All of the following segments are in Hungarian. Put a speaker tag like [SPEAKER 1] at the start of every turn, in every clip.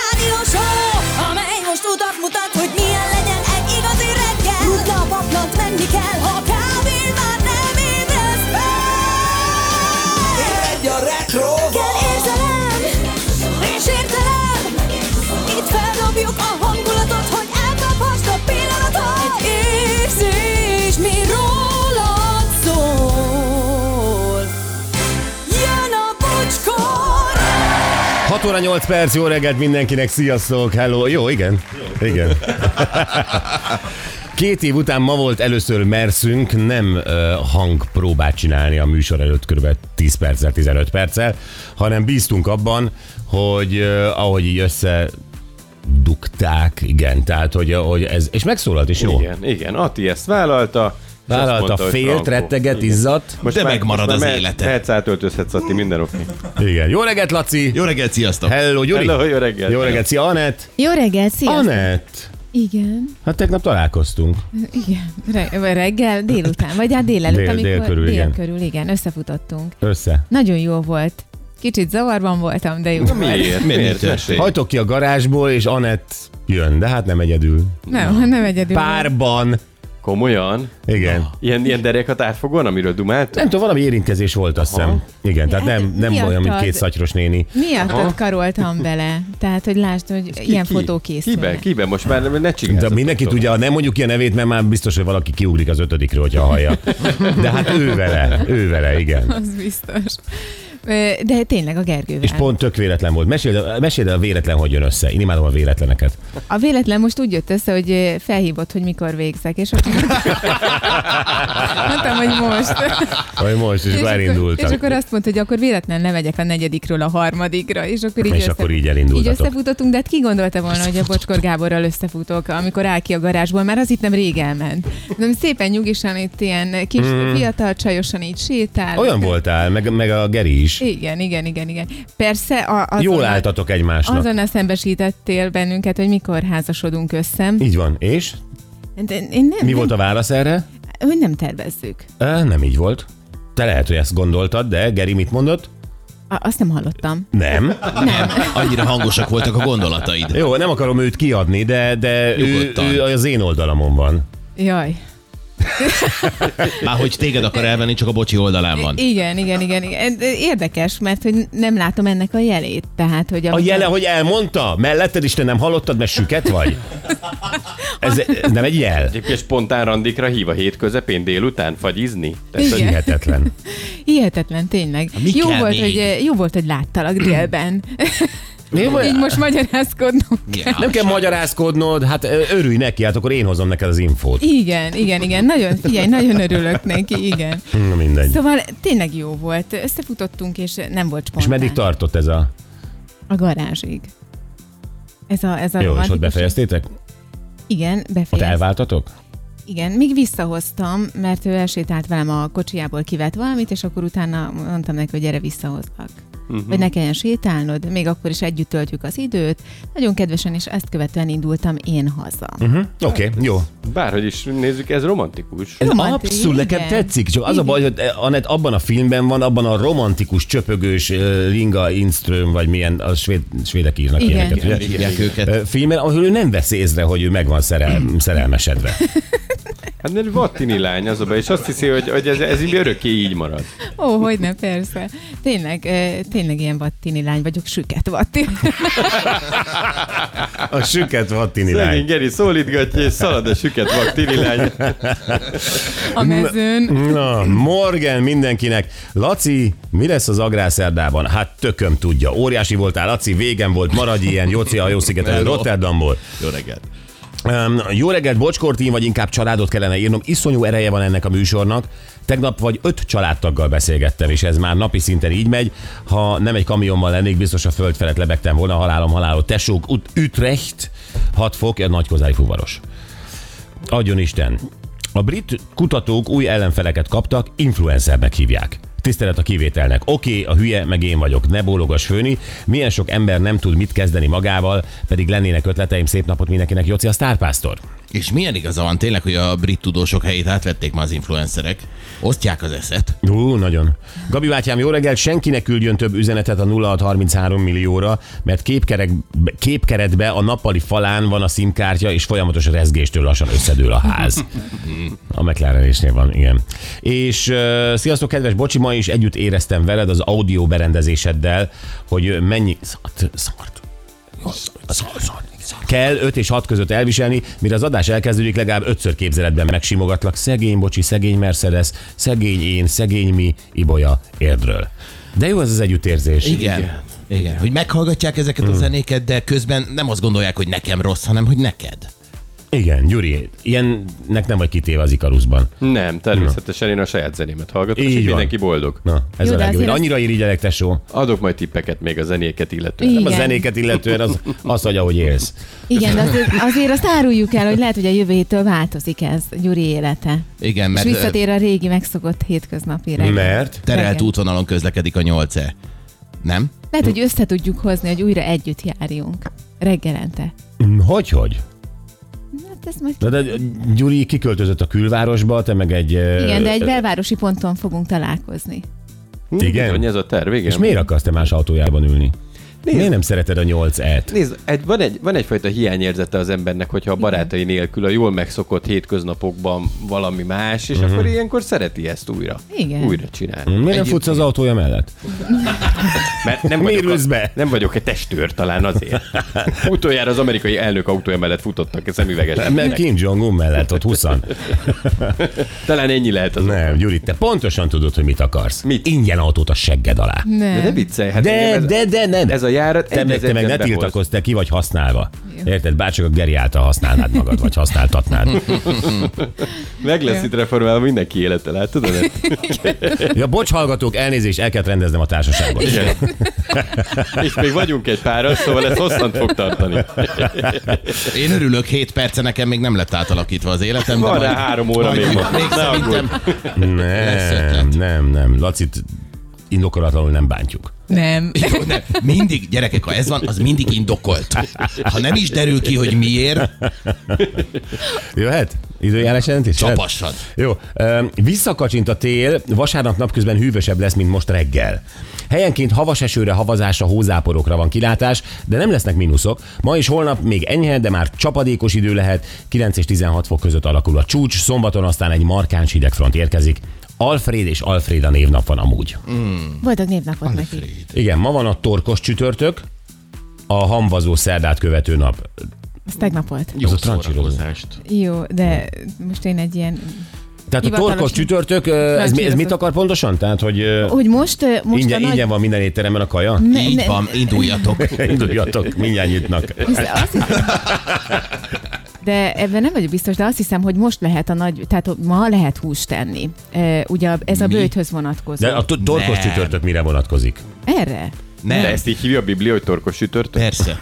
[SPEAKER 1] rádió show, amely most utat mutat, hogy milyen legyen egy igazi reggel. Rutna a paplant, menni kell, ha kávén már nem ébredsz fel.
[SPEAKER 2] Egy a retro
[SPEAKER 1] Kell érzelem, és értelem, itt feldobjuk a hangulatot, hogy elkaphast a pillanatot. Egy érzés, mi rólad szól. Jön a bocskor!
[SPEAKER 3] 6 óra 8 perc, jó reggelt mindenkinek, sziasztok, hello, jó, igen, igen. Két év után ma volt először merszünk nem ö, hangpróbát csinálni a műsor előtt kb. 10 perccel, 15 perccel, hanem bíztunk abban, hogy ö, ahogy így össze dugták, igen, tehát hogy, hogy ez, és megszólalt, és jó.
[SPEAKER 4] Igen, igen, Ati ezt vállalta. és azt
[SPEAKER 3] Vállalta,
[SPEAKER 4] mondta, hogy
[SPEAKER 3] félt,
[SPEAKER 4] Franco.
[SPEAKER 3] retteget,
[SPEAKER 4] Igen.
[SPEAKER 3] izzadt.
[SPEAKER 4] Most
[SPEAKER 5] De megmarad
[SPEAKER 4] most
[SPEAKER 5] az
[SPEAKER 4] mehet-
[SPEAKER 5] élete.
[SPEAKER 4] Mehetsz átöltözhetsz, Ati, minden oké.
[SPEAKER 3] Igen, jó reggelt, Laci!
[SPEAKER 5] Jó reggelt, sziasztok!
[SPEAKER 3] Hello, Gyuri!
[SPEAKER 4] Hello, jó reggelt!
[SPEAKER 3] Jó reggelt, szia, Anett!
[SPEAKER 6] Jó reggel, sziasztok!
[SPEAKER 3] Anett!
[SPEAKER 6] Igen,
[SPEAKER 3] Hát tegnap találkoztunk.
[SPEAKER 6] igen. Re- vagy reggel, délután, vagy hát délelőtt,
[SPEAKER 3] Dél-
[SPEAKER 6] amikor
[SPEAKER 3] dél körül,
[SPEAKER 6] dél
[SPEAKER 3] igen.
[SPEAKER 6] körül, igen, összefutottunk.
[SPEAKER 3] Össze.
[SPEAKER 6] Nagyon jó volt. Kicsit zavarban voltam, de jó
[SPEAKER 4] Na,
[SPEAKER 6] volt.
[SPEAKER 4] Miért? Miért?
[SPEAKER 5] nincs?
[SPEAKER 4] Mesélj.
[SPEAKER 3] Hajtok ki a garázsból, és Anett jön, de hát nem egyedül.
[SPEAKER 6] Nem, nem egyedül.
[SPEAKER 3] Párban.
[SPEAKER 4] Komolyan?
[SPEAKER 3] Igen.
[SPEAKER 6] Ah.
[SPEAKER 4] Ilyen, ilyen derekat átfogóan, amiről dumáltunk?
[SPEAKER 3] Nem tudom, valami érintkezés volt, azt hiszem. Igen, tehát nem, nem
[SPEAKER 6] Hát, miattad-
[SPEAKER 3] olyan, mint két szatyros néni.
[SPEAKER 6] Miattad karoltam bele? Tehát, hogy lásd, hogy ilyen fotó
[SPEAKER 4] Kibe,
[SPEAKER 6] készülnek.
[SPEAKER 4] kibe, most már nem- ne
[SPEAKER 3] De
[SPEAKER 4] csinálsz.
[SPEAKER 3] mindenki tudja, nem mondjuk ki a nevét, mert már biztos, hogy valaki kiugrik az ötödikről, hogyha hallja. De hát ő vele, ő vele, igen.
[SPEAKER 6] Az biztos. Ö, De tényleg a Gergővel.
[SPEAKER 3] És pont tök véletlen volt. Meséld, meséld el a véletlen, hogy jön össze. Én imádom a véletleneket.
[SPEAKER 6] A véletlen most úgy jött össze, hogy ö, felhívott, hogy mikor végzek, és akkor mondtam, hogy most.
[SPEAKER 3] Vagy most is
[SPEAKER 6] akkor-
[SPEAKER 3] elindultak.
[SPEAKER 6] És akkor azt mondta, hogy akkor véletlen ne megyek a negyedikről a harmadikra, és akkor így,
[SPEAKER 3] És
[SPEAKER 6] össze,
[SPEAKER 3] akkor így
[SPEAKER 6] így
[SPEAKER 3] elindultatok.
[SPEAKER 6] összefutottunk, de hát ki gondolta volna, hogy a Bocskor Gáborral összefutok, amikor áll ki a garázsból, már az itt nem rég elment. Nem szépen nyugisan itt ilyen kis fiatal csajosan így sétál.
[SPEAKER 3] Hmm. Olyan voltál, meg, meg a Geri is.
[SPEAKER 6] Igen, igen, igen, igen. Persze a, azon,
[SPEAKER 3] Jól álltatok egymásnak.
[SPEAKER 6] azonnal szembesítettél bennünket, hogy mikor házasodunk össze.
[SPEAKER 3] Így van. És?
[SPEAKER 6] De én nem,
[SPEAKER 3] Mi
[SPEAKER 6] nem,
[SPEAKER 3] volt a válasz erre?
[SPEAKER 6] Hogy nem tervezzük.
[SPEAKER 3] Ö, Nem így volt. Te lehet, hogy ezt gondoltad, de Geri mit mondott?
[SPEAKER 6] A- Azt nem hallottam.
[SPEAKER 3] Nem.
[SPEAKER 5] Annyira hangosak voltak a gondolataid.
[SPEAKER 3] Jó, nem akarom őt kiadni, de, de ő,
[SPEAKER 5] Nyugodtan.
[SPEAKER 3] ő, az én oldalamon van.
[SPEAKER 6] Jaj.
[SPEAKER 5] Már hogy téged akar elvenni, csak a bocsi oldalán van.
[SPEAKER 6] Igen, igen, igen, igen. Érdekes, mert hogy nem látom ennek a jelét. Tehát, hogy
[SPEAKER 3] A jele, hogy elmondta? Melletted is te nem hallottad, mert süket vagy? Ez, ez nem egy jel?
[SPEAKER 4] Egyébként spontán randikra hív a hét közepén délután fagyizni. Tehát,
[SPEAKER 3] Ez
[SPEAKER 4] hogy
[SPEAKER 6] Igen.
[SPEAKER 3] hihetetlen.
[SPEAKER 6] Hihetetlen, tényleg.
[SPEAKER 5] Mi
[SPEAKER 6] Jó
[SPEAKER 5] kell
[SPEAKER 6] volt,
[SPEAKER 5] még?
[SPEAKER 6] hogy, jó volt, hogy láttalak délben.
[SPEAKER 3] Én vagy-
[SPEAKER 6] Így most magyarázkodnom kell.
[SPEAKER 5] Ja.
[SPEAKER 3] Nem kell magyarázkodnod, hát ö, örülj neki, hát akkor én hozom neked az infót.
[SPEAKER 6] Igen, igen, igen. Nagyon, figyelj, nagyon örülök neki, igen.
[SPEAKER 3] Na mindegy.
[SPEAKER 6] Szóval tényleg jó volt. Összefutottunk, és nem volt
[SPEAKER 3] És
[SPEAKER 6] spontán.
[SPEAKER 3] meddig tartott ez a...
[SPEAKER 6] A garázsig. Ez a, ez
[SPEAKER 3] Jó,
[SPEAKER 6] a
[SPEAKER 3] és ott
[SPEAKER 6] romantikus-
[SPEAKER 3] befejeztétek?
[SPEAKER 6] Igen,
[SPEAKER 3] Ott
[SPEAKER 6] befejeztük.
[SPEAKER 3] elváltatok?
[SPEAKER 6] Igen, még visszahoztam, mert ő elsétált velem a kocsijából, kivett valamit, és akkor utána mondtam neki, hogy gyere visszahozlak. Uh-huh. Vagy ne kelljen sétálnod, még akkor is együtt töltjük az időt. Nagyon kedvesen, és ezt követően indultam én haza. Uh-huh.
[SPEAKER 3] Oké, okay, jó.
[SPEAKER 4] bárhogy is nézzük, ez romantikus.
[SPEAKER 3] Ez
[SPEAKER 6] Romantikus,
[SPEAKER 3] abszolút nekem
[SPEAKER 6] hát igen.
[SPEAKER 3] tetszik, csak az a baj, hogy eh, Anett abban a filmben van, abban a romantikus, csöpögős ö, Linga Inström, vagy milyen, a svéd, svédek írnak
[SPEAKER 6] Igen.
[SPEAKER 3] ilyeneket, ugye?
[SPEAKER 5] Hívják őket.
[SPEAKER 3] Ö, Filmen, ahol ő nem vesz észre, hogy ő meg van szerel, szerelmesedve.
[SPEAKER 4] Hát mert vattini lány az a baj, és azt hiszi, hogy, hogy ez, ez így örökké így marad.
[SPEAKER 6] Ó, hogy ne, persze. Tényleg, ö, tényleg ilyen vattini lány vagyok, süket vatti.
[SPEAKER 3] A süket vattini
[SPEAKER 4] Szegény
[SPEAKER 3] lány.
[SPEAKER 4] Geri szólítgatja, és szalad a süket vattini lány.
[SPEAKER 6] A mezőn.
[SPEAKER 3] Na, Morgan mindenkinek. Laci, mi lesz az agrárszerdában? Hát tököm tudja. Óriási voltál, Laci, végen volt, maradj ilyen, Jóci a Jószigetelő
[SPEAKER 5] Hello.
[SPEAKER 3] Rotterdamból.
[SPEAKER 5] Jó reggelt.
[SPEAKER 3] Um, jó reggelt, bocskortin, vagy inkább családot kellene írnom. Iszonyú ereje van ennek a műsornak. Tegnap vagy öt családtaggal beszélgettem, és ez már napi szinten így megy. Ha nem egy kamionban lennék, biztos a föld felett lebegtem volna. Halálom, halálom, tesók, ut- Utrecht, 6 fok, a nagykozári fuvaros. Adjon Isten. A brit kutatók új ellenfeleket kaptak, influencernek hívják. Tisztelet a kivételnek. Oké, a hülye, meg én vagyok. Ne bólogass főni. Milyen sok ember nem tud mit kezdeni magával, pedig lennének ötleteim. Szép napot mindenkinek, Joci a sztárpásztor.
[SPEAKER 5] És milyen igaza van tényleg, hogy a brit tudósok helyét átvették már az influencerek. Osztják az eszet.
[SPEAKER 3] Ú, nagyon. Gabi bátyám, jó reggel, senkinek küldjön több üzenetet a 0633 millióra, mert képkerek, képkeretbe a nappali falán van a szimkártya, és folyamatos rezgéstől lassan összedől a ház. A McLarenésnél van, igen. És uh, sziasztok, kedves Bocsi, ma is együtt éreztem veled az audio berendezéseddel, hogy mennyi szart, szart, kell 5 és 6 között elviselni, mire az adás elkezdődik, legalább ötször képzeletben megsimogatlak. Szegény bocsi, szegény Mercedes, szegény én, szegény mi, Ibolya, érdről. De jó ez az együttérzés.
[SPEAKER 5] Igen. Igen. Igen. Hogy meghallgatják ezeket a zenéket, de közben nem azt gondolják, hogy nekem rossz, hanem hogy neked.
[SPEAKER 3] Igen, Gyuri, ilyennek nem vagy kitéve az Ikaruszban.
[SPEAKER 4] Nem, természetesen én a saját zenémet hallgatom, és
[SPEAKER 3] Így
[SPEAKER 4] így
[SPEAKER 3] van.
[SPEAKER 4] mindenki boldog.
[SPEAKER 3] Na, ez
[SPEAKER 6] Jó,
[SPEAKER 3] a
[SPEAKER 6] de
[SPEAKER 3] legjobb. Én
[SPEAKER 6] azért
[SPEAKER 3] annyira irigyelek, tesó.
[SPEAKER 4] Adok majd tippeket még a zenéket illetően.
[SPEAKER 6] Igen.
[SPEAKER 3] A zenéket illetően az, az hogy ahogy élsz.
[SPEAKER 6] Igen, de azért, azért azt áruljuk el, hogy lehet, hogy a jövő héttől változik ez Gyuri élete.
[SPEAKER 5] Igen,
[SPEAKER 6] Mert
[SPEAKER 5] mert
[SPEAKER 6] és
[SPEAKER 5] ö,
[SPEAKER 6] visszatér a régi megszokott hétköznapi reggel.
[SPEAKER 3] Mert?
[SPEAKER 5] terelt
[SPEAKER 6] Igen.
[SPEAKER 5] útvonalon közlekedik a 8 Nem?
[SPEAKER 6] Lehet,
[SPEAKER 3] Hm.
[SPEAKER 6] hogy össze tudjuk hozni, hogy újra együtt járjunk. Reggelente.
[SPEAKER 3] Hm, Hogy, hogy?
[SPEAKER 6] Hát ez majd...
[SPEAKER 3] Na de Gyuri kiköltözött a külvárosba, te meg egy... ö,
[SPEAKER 6] Igen, de egy belvárosi ponton fogunk találkozni.
[SPEAKER 4] Hm,
[SPEAKER 3] Igen.
[SPEAKER 4] Hogy ez a terv, igen.
[SPEAKER 3] És miért akarsz te más autójában ülni? Miért nem szereted a 8-et?
[SPEAKER 4] Nézd, egy, van, egy, van egyfajta hiányérzete az embernek, hogyha a barátai nélkül a jól megszokott hétköznapokban valami más, és
[SPEAKER 3] Mhm.
[SPEAKER 4] uh-huh. akkor ilyenkor szereti ezt újra.
[SPEAKER 6] Igen.
[SPEAKER 4] Újra csinál.
[SPEAKER 3] Miért nem futsz az autója mellett?
[SPEAKER 4] Mert nem
[SPEAKER 3] Miért
[SPEAKER 4] vagyok,
[SPEAKER 3] ülsz be?
[SPEAKER 4] nem vagyok egy testőr talán azért. Utoljára az amerikai elnök autója mellett futottak a szemüveges.
[SPEAKER 3] Mert Kim Jong-un mellett ott 20
[SPEAKER 4] Talán ennyi lehet az.
[SPEAKER 3] Nem, Gyuri, te pontosan tudod, hogy mit akarsz.
[SPEAKER 4] Mit?
[SPEAKER 3] Ingyen autót a segged alá.
[SPEAKER 4] De ne
[SPEAKER 6] Nem.
[SPEAKER 4] viccelj, hát engem
[SPEAKER 3] De,
[SPEAKER 4] ez,
[SPEAKER 3] de, de, nem.
[SPEAKER 4] ez a járat
[SPEAKER 3] te meg, te meg ne tiltakozz, te ki vagy használva.
[SPEAKER 6] Jó.
[SPEAKER 3] Érted? Bárcsak a Geri által használnád magad, vagy használtatnád.
[SPEAKER 4] Meg lesz itt reformálva mindenki élete, látod?
[SPEAKER 3] Ja, bocs, hallgatók, elnézést, el kell rendeznem a társaságot.
[SPEAKER 4] Igen. És még vagyunk egy pára, szóval ez hosszan fog tartani.
[SPEAKER 5] Én örülök, 7 perce nekem még nem lett átalakítva az életem. de
[SPEAKER 4] Van rá
[SPEAKER 5] majd-
[SPEAKER 4] három óra
[SPEAKER 5] majd
[SPEAKER 4] még.
[SPEAKER 5] jut- még
[SPEAKER 4] Ne aggódj.
[SPEAKER 5] szerintem Lesz
[SPEAKER 3] Nem,
[SPEAKER 5] ötlet.
[SPEAKER 3] nem, nem. Lacit indokolatlanul nem bántjuk.
[SPEAKER 6] Nem.
[SPEAKER 5] Jó, nem. Mindig, gyerekek, ha ez van, az mindig indokolt. Ha nem is derül ki, hogy miért,
[SPEAKER 3] Jöhet? Időjárás jelentés? Jöhet?
[SPEAKER 5] csapassad.
[SPEAKER 3] Jó, öm, visszakacsint a tél, vasárnap napközben hűvösebb lesz, mint most reggel. Helyenként havas esőre, havazásra, hózáporokra van kilátás, de nem lesznek mínuszok. Ma és holnap még enyhe, de már csapadékos idő lehet, 9 és 16 fok között alakul a csúcs, szombaton aztán egy markáns hidegfront érkezik. Alfred és Alfréda névnap van amúgy.
[SPEAKER 6] Boldog névnapot neki.
[SPEAKER 3] Igen, ma van a torkos csütörtök, a hamvazó szerdát követő nap.
[SPEAKER 6] Ez tegnap volt.
[SPEAKER 3] Jó trancsírozó.
[SPEAKER 6] Jó, de most én egy ilyen...
[SPEAKER 3] Tehát a
[SPEAKER 6] Hivatalos
[SPEAKER 3] torkos
[SPEAKER 6] nem.
[SPEAKER 3] csütörtök, ö, ez, mi, ez mit akar pontosan? Tehát, hogy ö,
[SPEAKER 6] Hogy most, ö, most
[SPEAKER 3] ingyen,
[SPEAKER 6] a nagy...
[SPEAKER 3] ingyen van minden étteremben a kaja?
[SPEAKER 6] Ne- ne-
[SPEAKER 5] Így van, induljatok.
[SPEAKER 3] Induljatok, mindjárt nyitnak.
[SPEAKER 6] Hisz- azt hiszem, de ebben nem vagyok biztos, de azt hiszem, hogy most lehet a nagy, tehát ma lehet húst tenni. E, ugye ez a
[SPEAKER 5] Mi?
[SPEAKER 6] bőthöz vonatkozó.
[SPEAKER 3] De a to- torkos
[SPEAKER 5] Nem.
[SPEAKER 3] csütörtök mire vonatkozik?
[SPEAKER 6] Erre?
[SPEAKER 5] Nem,
[SPEAKER 4] De ezt így hívja a Biblia, hogy torkos sütörtök?
[SPEAKER 5] persze.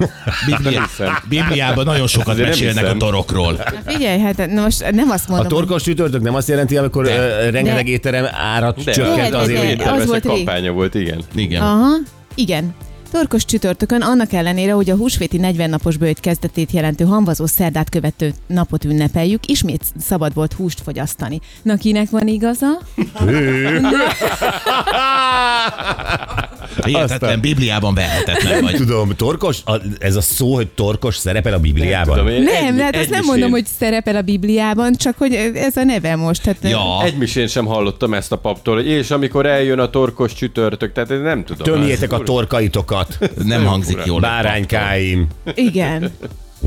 [SPEAKER 5] Bibliá...
[SPEAKER 4] hiszem.
[SPEAKER 5] Bibliában nagyon sokat
[SPEAKER 4] Azért nem
[SPEAKER 5] mesélnek
[SPEAKER 4] hiszem.
[SPEAKER 5] a torokról.
[SPEAKER 6] Na Figyelj, hát na most nem azt
[SPEAKER 3] A
[SPEAKER 6] mondom,
[SPEAKER 3] torkos csütörtök nem azt jelenti, amikor ö, rengeteg
[SPEAKER 6] De.
[SPEAKER 3] étterem árat
[SPEAKER 4] De.
[SPEAKER 3] csökkent
[SPEAKER 6] De,
[SPEAKER 3] azért,
[SPEAKER 6] de,
[SPEAKER 3] hogy
[SPEAKER 6] de. az
[SPEAKER 4] Az
[SPEAKER 6] volt
[SPEAKER 4] volt
[SPEAKER 6] rég.
[SPEAKER 4] kampánya volt, igen.
[SPEAKER 5] Igen.
[SPEAKER 6] Aha, igen. Torkos csütörtökön annak ellenére, hogy a húsvéti 40 napos bőjt kezdetét jelentő hamvazó szerdát követő napot ünnepeljük, ismét szabad volt húst fogyasztani. Na kinek van igaza?
[SPEAKER 5] Hihetetlen, Bibliában vehetetlen vagy.
[SPEAKER 3] Tudom, torkos, a, ez a szó, hogy torkos szerepel a Bibliában.
[SPEAKER 4] Tudom, én
[SPEAKER 6] Nem,
[SPEAKER 4] egy-
[SPEAKER 6] hát
[SPEAKER 4] egy
[SPEAKER 6] azt nem
[SPEAKER 4] misén-
[SPEAKER 6] mondom, hogy szerepel a Bibliában, csak hogy ez a neve most. hát, Tehát
[SPEAKER 5] Ja,
[SPEAKER 4] Egy misén sem hallottam ezt a paptól, hogy és amikor eljön a torkos csütörtök, tehát én nem tudom.
[SPEAKER 3] Tömjétek a torkaitokat,
[SPEAKER 5] nem hangzik jól.
[SPEAKER 3] báránykáim.
[SPEAKER 6] Igen.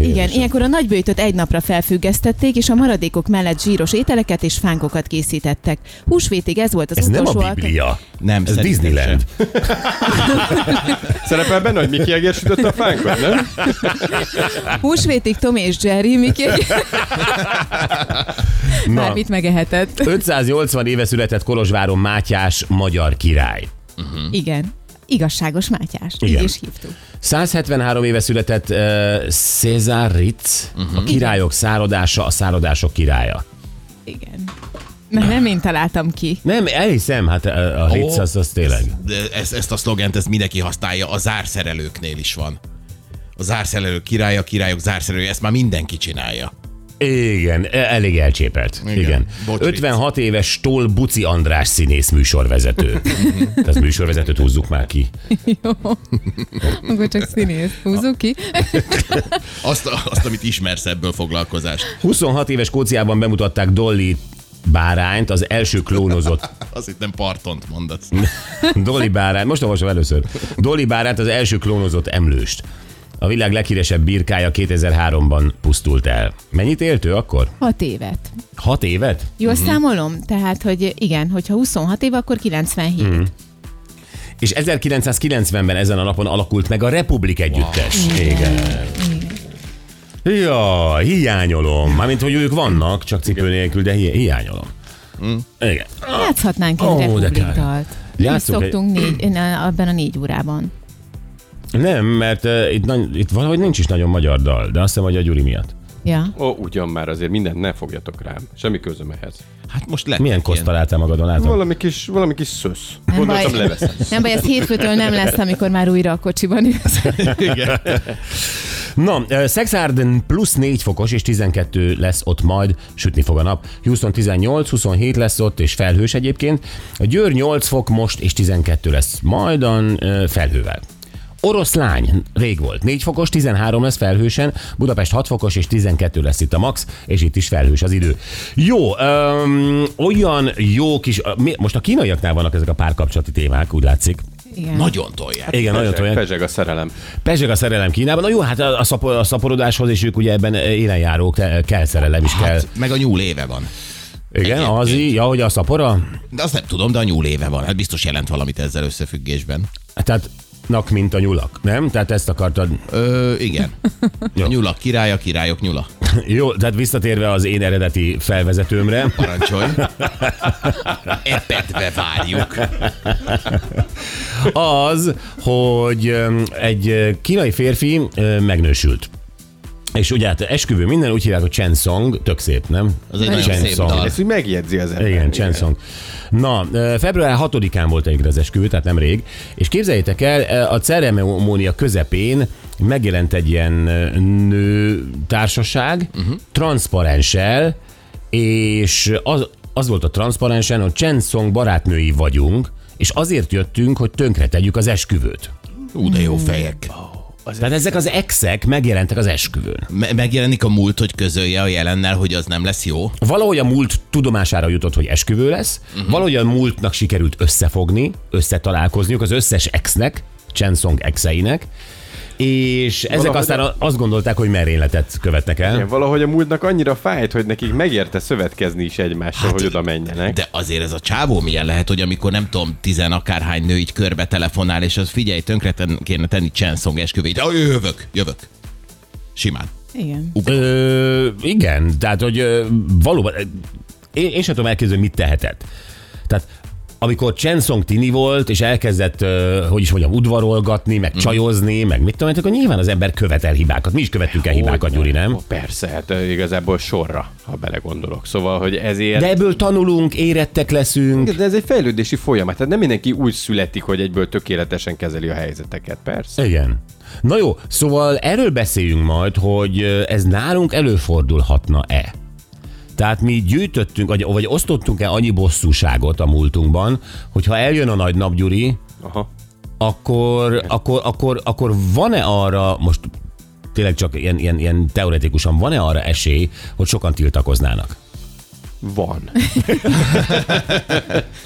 [SPEAKER 6] Igen, ilyenkor a nagybőjtöt egy napra felfüggesztették, és a maradékok mellett zsíros ételeket és fánkokat készítettek. Húsvétig ez volt az
[SPEAKER 3] Ez nem
[SPEAKER 6] utolsó
[SPEAKER 3] a
[SPEAKER 6] alkalom-
[SPEAKER 3] Biblia.
[SPEAKER 5] Nem,
[SPEAKER 3] Ez
[SPEAKER 5] szerintem
[SPEAKER 3] Disneyland.
[SPEAKER 5] sem.
[SPEAKER 4] Szerepel benne, hogy Miki Eger sütött a fánkot, nem?
[SPEAKER 6] Húsvétig Tom és Jerry, Miki
[SPEAKER 3] Na.
[SPEAKER 6] bármit megehetett.
[SPEAKER 3] 580 éve született Kolozsváron Mátyás magyar király.
[SPEAKER 6] Igen. Igazságos Mátyás.
[SPEAKER 3] Igen.
[SPEAKER 6] Így is hívtuk.
[SPEAKER 3] 173 éve született uh, Cézár Ritz, a királyok száradása, a száradások királya.
[SPEAKER 6] Igen. Na, nem én találtam ki.
[SPEAKER 3] Nem, elhiszem, hát ö, a Ritz az, az tényleg.
[SPEAKER 5] De ezt, ezt a szlogent, ezt mindenki használja, a zárszerelőknél is van. A zárszerelők királya, a királyok zárszerelője, ezt már mindenki csinálja.
[SPEAKER 3] Igen, e- elég elcsépelt. Igen.
[SPEAKER 5] Igen.
[SPEAKER 3] Igen.
[SPEAKER 5] Bocs,
[SPEAKER 3] 56 éves Stoll Buci András színész műsorvezető. Tehát műsorvezetőt húzzuk már ki.
[SPEAKER 6] Jó. Akkor csak színész. Húzzuk ki.
[SPEAKER 5] Azt, azt, amit ismersz ebből foglalkozást.
[SPEAKER 3] 26 éves Skóciában bemutatták Dolly bárányt, az első klónozott
[SPEAKER 5] Azt itt nem partont mondasz.
[SPEAKER 3] Dolly bárány, most olvasom először. Dolly bárányt, az első klónozott emlőst. A világ leghíresebb birkája 2003-ban pusztult el. Mennyit élt ő akkor?
[SPEAKER 6] Hat évet.
[SPEAKER 3] Hat évet?
[SPEAKER 6] Jól mm-hmm. számolom? Tehát, hogy igen, hogyha 26 év, akkor 97.
[SPEAKER 3] Mhm.
[SPEAKER 6] Mm.
[SPEAKER 3] És 1990-ben ezen a napon alakult meg a Republik Együttes. Wow. Igen. Ja, hiányolom. Mármint, hogy ők vannak, csak cipő nélkül, de hi- hiányolom. Mm. Igen.
[SPEAKER 6] Játszhatnánk egy
[SPEAKER 3] Ó,
[SPEAKER 6] oh,
[SPEAKER 3] de
[SPEAKER 6] republikdalt. Mi
[SPEAKER 3] Játsszuk egy-
[SPEAKER 6] szoktunk négy, na, abban a négy órában.
[SPEAKER 3] Nem, mert uh, itt, nagy, itt valahogy nincs is nagyon magyar dal, de azt hiszem, hogy a Gyuri miatt.
[SPEAKER 6] Ja.
[SPEAKER 4] Ó, ugyan már azért mindent ne fogjatok rám. Semmi közöm ehhez.
[SPEAKER 5] Hát most lett.
[SPEAKER 3] Milyen koszt találtál magadon, látom?
[SPEAKER 4] Valami kis, valami kis szösz. Gondoltam, leveszem.
[SPEAKER 6] nem baj, ez hétfőtől nem lesz, amikor már újra a kocsiban ülsz.
[SPEAKER 5] Igen.
[SPEAKER 3] Na, ö, Szexárden plusz 4 fokos, és 12 lesz ott majd, sütni fog a nap. Houston 18, 27 lesz ott, és felhős egyébként. A Győr 8 fok most, és 12 lesz majdan ö, felhővel. Oroszlány rég volt. 4 fokos, 13 lesz felhősen, Budapest 6 fokos és 12 lesz itt a max, és itt is felhős az idő. Jó, öm, olyan jó kis... ö, mi- Most a kínaiaknál vannak ezek a párkapcsolati témák, úgy látszik.
[SPEAKER 6] Igen.
[SPEAKER 5] Nagyon tolják.
[SPEAKER 3] Igen, nagyon
[SPEAKER 4] Pezseg,
[SPEAKER 3] tolják.
[SPEAKER 4] pezseg a szerelem.
[SPEAKER 3] Pezseg a szerelem Kínában. Na jó, hát a, a, szapor, a szaporodáshoz is ők ugye ebben élenjárók, te- kell szerelem is kell.
[SPEAKER 5] Hát, meg a nyúl éve van.
[SPEAKER 3] Igen,
[SPEAKER 5] egyébként.
[SPEAKER 3] az í- ja, hogy a szapora.
[SPEAKER 5] De azt nem tudom, de a nyúl éve van. Hát biztos jelent valamit ezzel összefüggésben.
[SPEAKER 3] Tehát nak, mint a nyulak, nem? Tehát ezt akartad.
[SPEAKER 5] Ö, igen. A
[SPEAKER 3] Jó.
[SPEAKER 5] nyulak királya, királyok nyula.
[SPEAKER 3] Jó, tehát visszatérve az én eredeti felvezetőmre.
[SPEAKER 5] Parancsolj. Epetbe várjuk.
[SPEAKER 3] az, hogy öm, egy ö, kínai férfi ö, megnősült. És ugye hát esküvő minden, úgy hívják, hogy Chen Song, tök szép, nem?
[SPEAKER 5] Az egy nagyon
[SPEAKER 3] Chen
[SPEAKER 5] szép
[SPEAKER 3] Song.
[SPEAKER 5] dal.
[SPEAKER 4] Ezt így megjegyzi az ember.
[SPEAKER 3] Igen, Chen Song. Na, ö, február 6-án volt egyébként az esküvő, tehát nem rég, és képzeljétek el, ö, a ceremónia közepén megjelent egy ilyen ö, nő társaság, uh-huh. transzparenssel, és az, az volt a transzparensen, hogy Chen Song barátnői vagyunk, és azért jöttünk, hogy tönkre tegyük az esküvőt.
[SPEAKER 5] Ú, de jó fejek.
[SPEAKER 3] Tehát ezek az exek megjelentek az esküvőn.
[SPEAKER 5] Me- megjelenik a múlt, hogy közölje a jelennel, hogy az nem lesz jó.
[SPEAKER 3] Valahogy a múlt tudomására jutott, hogy esküvő lesz, uh-huh. valahogy a múltnak sikerült összefogni, összetalálkozniuk az összes exnek, Chansong exeinek, és ezek
[SPEAKER 4] Valahogy-
[SPEAKER 3] aztán a... azt gondolták, hogy merényletet követnek el.
[SPEAKER 4] Igen, valahogy a múltnak annyira fájt, hogy nekik megérte szövetkezni is egymással, hát, hogy oda menjenek. De...
[SPEAKER 5] De azért ez a csávó milyen lehet, hogy amikor nem tudom, tizen akárhány nő így körbe telefonál, és az figyelj, tönkre ten- kéne tenni Csenszong esküvét. Ja, jövök, jövök. Simán.
[SPEAKER 6] Igen.
[SPEAKER 3] Ö, igen, tehát, hogy ö, valóban, ö, én, én sem tudom elképzelni, mit tehetett. Tehát amikor Chansong tini volt, és elkezdett, ö, hogy is mondjam, udvarolgatni, meg csajozni, meg mit tudom, én, akkor nyilván az ember követel hibákat. Mi is követünk el hibákat, Gyuri, nem?
[SPEAKER 4] Persze, hát ö, igazából sorra, ha belegondolok. Szóval, hogy ezért...
[SPEAKER 3] De ebből tanulunk, érettek leszünk.
[SPEAKER 4] Igen, De ez egy fejlődési folyamat, tehát nem mindenki úgy születik, hogy egyből tökéletesen kezeli a helyzeteket, persze.
[SPEAKER 3] Igen. Na jó, szóval erről beszéljünk majd, hogy ö, ez nálunk előfordulhatna-e. Tehát mi gyűjtöttünk, vagy, vagy osztottunk-e annyi bosszúságot a múltunkban, hogy ha eljön a nagy nap, Gyuri,
[SPEAKER 4] Aha.
[SPEAKER 3] akkor, akkor, akkor, akkor van-e arra, most tényleg csak ilyen, ilyen, ilyen teoretikusan, van-e arra esély, hogy sokan tiltakoznának?
[SPEAKER 4] Van.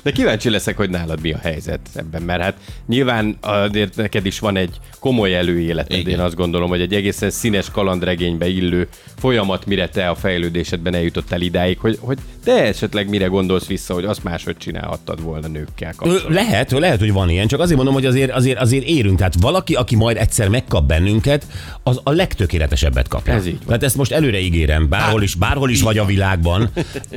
[SPEAKER 4] De kíváncsi leszek, hogy nálad mi a helyzet ebben, mert hát nyilván azért neked is van egy komoly előéleted,
[SPEAKER 5] Igen.
[SPEAKER 4] én azt gondolom, hogy egy egészen színes kalandregénybe illő folyamat, mire te a fejlődésedben eljutottál idáig, hogy, hogy te esetleg mire gondolsz vissza, hogy azt máshogy csinálhattad volna nőkkel
[SPEAKER 3] Ö,
[SPEAKER 4] kapcsolatban.
[SPEAKER 3] Lehet, lehet, hogy van ilyen, csak azért mondom, hogy azért, azért, azért érünk. Tehát valaki, aki majd egyszer megkap bennünket, az a legtökéletesebbet kapja.
[SPEAKER 4] Ez így van.
[SPEAKER 3] Hát, Tehát ezt most előre ígérem, bárhol is, bárhol is vagy a világban.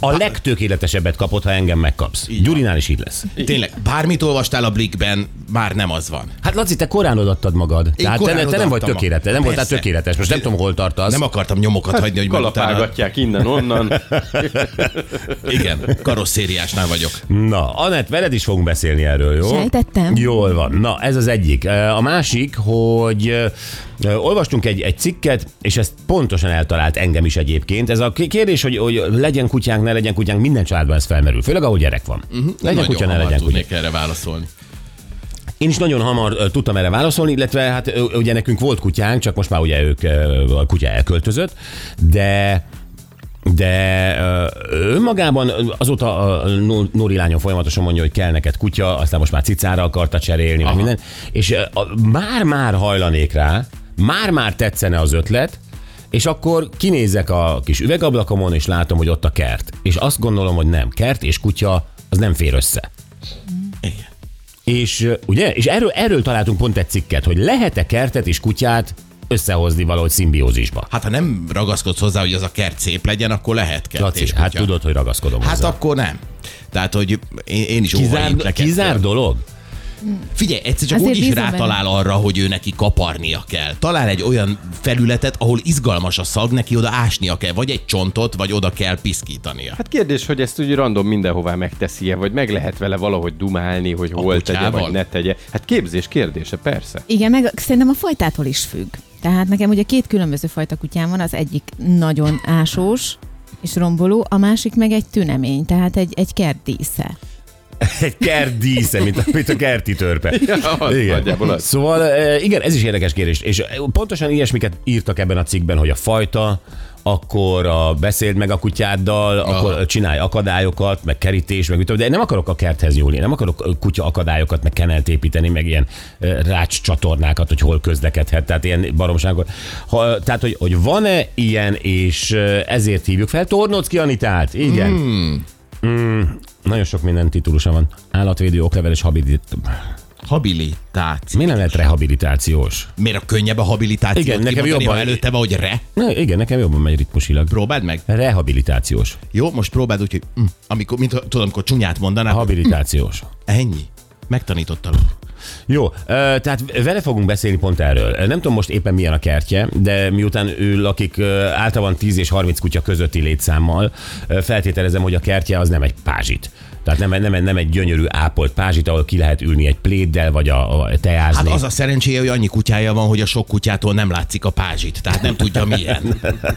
[SPEAKER 3] a legtökéletesebbet kapod, ha engem megkapsz. Gyurinál is Hát, így lesz.
[SPEAKER 5] Tényleg, bármit olvastál a Blikben, már nem az van.
[SPEAKER 3] Hát Laci, te korán odaadtad magad. Én Tehát te,
[SPEAKER 5] korán
[SPEAKER 3] te nem vagy
[SPEAKER 5] odaadtam
[SPEAKER 3] tökéletes, nem
[SPEAKER 5] magam.
[SPEAKER 3] voltál
[SPEAKER 5] Persze.
[SPEAKER 3] tökéletes. Most nem tudom, hol tartasz.
[SPEAKER 5] Nem akartam nyomokat
[SPEAKER 3] Hát,
[SPEAKER 5] hagyni, hogy majd utána...
[SPEAKER 4] Kalapálgatják Hát innen-onnan.
[SPEAKER 5] Igen, karosszériásnál vagyok.
[SPEAKER 3] Na, Anett, veled is fogunk beszélni erről, jó?
[SPEAKER 6] Sejtettem.
[SPEAKER 3] Jól van. Na, ez az egyik. A másik, hogy ö, olvastunk egy, egy cikket, és ezt pontosan eltalált engem is egyébként. Ez a k- kérdés, hogy, hogy legyen kutyánk, ne legyen kutyánk, minden családban ez felmerül, főleg ahol gyerek van. Uh-huh. Legyen
[SPEAKER 5] Mhm. Nagyon
[SPEAKER 3] kutya, ne
[SPEAKER 5] hamar
[SPEAKER 3] legyen kutya.
[SPEAKER 5] tudnék erre válaszolni.
[SPEAKER 3] Én is nagyon hamar ö, tudtam erre válaszolni, illetve hát ö, ugye nekünk volt kutyánk, csak most már ugye ők ö, a kutya elköltözött, de de ö, önmagában ö, azóta a Nor- Nóri lányom folyamatosan mondja, hogy kell neked kutya, aztán most már cicára akarta cserélni, meg minden, és ö, a- már-már hajlanék rá, már-már tetszene az ötlet, és akkor kinézek a kis üvegablakomon, és látom, hogy ott a kert. És azt gondolom, hogy nem, kert és kutya, az nem fér össze.
[SPEAKER 5] Igen.
[SPEAKER 3] És ö, ugye, és erről, erről találtunk pont egy cikket, hogy lehet-e kertet és kutyát összehozni valahogy szimbiózisba.
[SPEAKER 5] Hát ha nem ragaszkodsz hozzá, hogy az a kert szép legyen, akkor lehet kert
[SPEAKER 3] Laci,
[SPEAKER 5] és
[SPEAKER 3] hát
[SPEAKER 5] kutya.
[SPEAKER 3] tudod, hogy ragaszkodom
[SPEAKER 5] Hát
[SPEAKER 3] hozzá.
[SPEAKER 5] akkor nem. Tehát, hogy én, én is
[SPEAKER 3] Kizár,
[SPEAKER 5] óvaintlek
[SPEAKER 3] kizár
[SPEAKER 5] ettől.
[SPEAKER 3] dolog?
[SPEAKER 5] Figyelj, egyszer csak
[SPEAKER 6] Azért
[SPEAKER 5] úgy is
[SPEAKER 6] bízom benne.
[SPEAKER 5] rátalál arra, hogy ő neki kaparnia kell. Talál egy olyan felületet, ahol izgalmas a szag, neki oda ásnia kell, vagy egy csontot, vagy oda kell piszkítania.
[SPEAKER 4] Hát kérdés, hogy ezt úgy random mindenhová megteszi-e, vagy meg lehet vele valahogy dumálni, hogy hol tegye,
[SPEAKER 5] kutyával?
[SPEAKER 4] vagy ne tegye. Hát képzés kérdése, persze.
[SPEAKER 6] Igen, meg szerintem a fajtától is függ. Tehát nekem ugye két különböző fajta kutyám van, az egyik nagyon ásós és romboló, a másik meg egy tünemény, tehát egy, egy kertdísze.
[SPEAKER 3] Egy kert dísze, mint, a- mint a kerti törpe.
[SPEAKER 4] az nagyjából az.
[SPEAKER 3] Szóval eh, igen, ez is érdekes kérdés. És eh, pontosan ilyesmiket írtak ebben a cikkben, hogy a fajta, akkor a beszéld meg a kutyáddal, Aha. akkor csinálj akadályokat, meg kerítés, meg mit tudom, de én nem akarok a kerthez nyúlni, nem akarok ö, kutya akadályokat, meg kenelt építeni, meg ilyen eh, rács csatornákat, hogy hol közlekedhet, tehát ilyen baromságot. Ha, tehát, hogy, hogy van-e ilyen, és eh, ezért hívjuk fel Tornocki Anitát, igen.
[SPEAKER 4] Hmm.
[SPEAKER 3] Mm. Mm. Nagyon sok minden titulusa van. Állatvédő, oklevel és habilit...
[SPEAKER 5] Habilitáció.
[SPEAKER 3] Mi nem lehet rehabilitációs?
[SPEAKER 5] Miért a könnyebb a habilitációt
[SPEAKER 3] Igen, nekem
[SPEAKER 5] kimondani,
[SPEAKER 3] jobban-
[SPEAKER 5] ha előtte van, hogy re?
[SPEAKER 3] Ne, igen, nekem jobban megy ritmusilag.
[SPEAKER 5] Próbáld meg.
[SPEAKER 3] Rehabilitációs.
[SPEAKER 5] Jó, most próbáld úgy, hogy mm, amikor, mint ha- tudom, amikor csúnyát mondanál, hogy
[SPEAKER 3] Habilitációs.
[SPEAKER 5] ennyi. Megtanítottalak.
[SPEAKER 3] Jó, ö, tehát vele fogunk beszélni pont erről. Nem tudom most éppen milyen a kertje, de miután ő lakik ö, általában 10 és 30 kutya közötti létszámmal, ö, feltételezem, hogy a kertje az nem egy pázsit. Tehát nem, nem, nem egy gyönyörű ápolt pázsit, ahol ki lehet ülni egy pléddel, vagy a, a
[SPEAKER 5] Hát
[SPEAKER 3] teázni.
[SPEAKER 5] az a szerencséje, hogy annyi kutyája van, hogy a sok kutyától nem látszik a pázsit, tehát nem tudja milyen.
[SPEAKER 3] hát,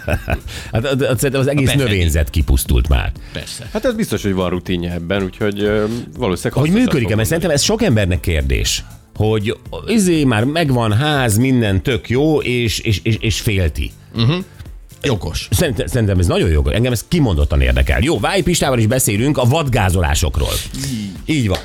[SPEAKER 3] hát, hát szerintem az egész
[SPEAKER 5] befedi.
[SPEAKER 3] növényzet kipusztult már.
[SPEAKER 5] Persze.
[SPEAKER 4] Hát ez biztos, hogy van rutinja ebben, úgyhogy ö, valószínűleg...
[SPEAKER 3] Hogy
[SPEAKER 4] hasznosan
[SPEAKER 3] működik-e?
[SPEAKER 4] fog
[SPEAKER 3] Mert szerintem ez sok embernek kérdés, hogy izé már megvan ház, minden tök jó, és, és, és, és félti.
[SPEAKER 5] Jogos.
[SPEAKER 3] Szerintem, szerintem ez nagyon jó, engem ez kimondottan érdekel. Jó, Váj Pistával is beszélünk a vadgázolásokról. Így van.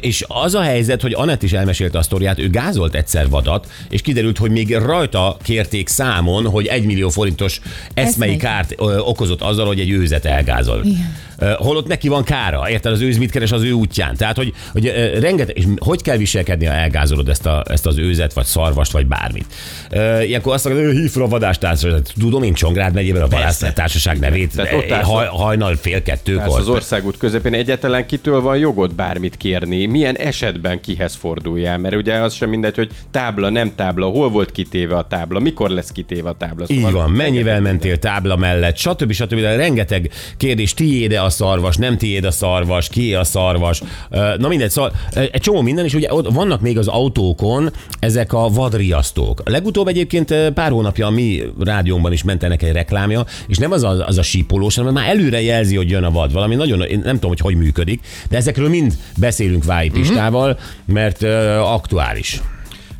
[SPEAKER 3] És az a helyzet, hogy Anett is elmesélte a sztoriát, ő gázolt egyszer vadat, és kiderült, hogy még rajta kérték számon, hogy 1 millió forintos eszmei
[SPEAKER 6] Eszmei.
[SPEAKER 3] kárt ö, okozott azzal, hogy egy őzet elgázol.
[SPEAKER 6] Igen.
[SPEAKER 3] Ö, Holott neki van kára, érted? Az őz mit keres az ő útján. Tehát, hogy, hogy ö, rengeteg, és hogy kell viselkedni, ha elgázolod ezt, a, ezt az őzet, vagy szarvast, vagy bármit. Ö, Ilyenkor azt mondod, hogy hív fel a vadástársaságot. Tudom én Csongrád megyében a vadásztársaság nevét,
[SPEAKER 4] Tehát ott
[SPEAKER 3] eh,
[SPEAKER 4] állsz-
[SPEAKER 3] haj, hajnal fél
[SPEAKER 4] Ez
[SPEAKER 3] kettőkor.
[SPEAKER 4] az országút közepén egyáltalán kitől van jogod bármit kérni? Milyen esetben kihez forduljál? Mert ugye az sem mindegy, hogy tábla, nem tábla, hol volt kitéve a tábla, mikor lesz kitéve a tábla. Szóval
[SPEAKER 3] Így van, mennyivel mentél tábla mellett, stb. stb. De rengeteg kérdés, tiéd e a szarvas, nem tiéd a szarvas, kié a szarvas. Ö, Na mindegy, szóval ö, egy csomó minden, és ugye ott vannak még az autókon ezek a vadriasztók. Legutóbb egyébként ö, pár hónapja a mi rádiómban is ment ennek egy reklámja, és nem az a, az a sípolós, hanem már előre jelzi, hogy jön a vad. Valami nagyon, én nem tudom, hogy hogy működik, de ezekről mind beszélünk Vályi Pistával, mert ö, aktuális.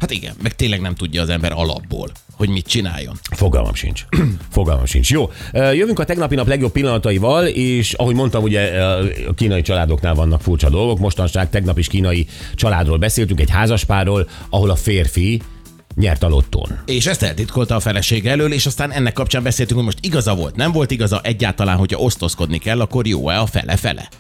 [SPEAKER 5] Hát igen, meg tényleg nem tudja az ember alapból, hogy mit csináljon.
[SPEAKER 3] Fogalmam sincs. Fogalmam sincs. Jó, ö, jövünk a tegnapi nap legjobb pillanataival, és ahogy mondtam, ugye ö, a kínai családoknál vannak furcsa dolgok. Mostanság tegnap is kínai családról beszéltünk, egy házaspárról, ahol a férfi nyert a lottón.
[SPEAKER 5] És ezt eltitkolta a felesége elől, és aztán ennek kapcsán beszéltünk, hogy most igaza volt, nem volt igaza egyáltalán, hogyha osztozkodni kell, akkor jó-e a fele-fele?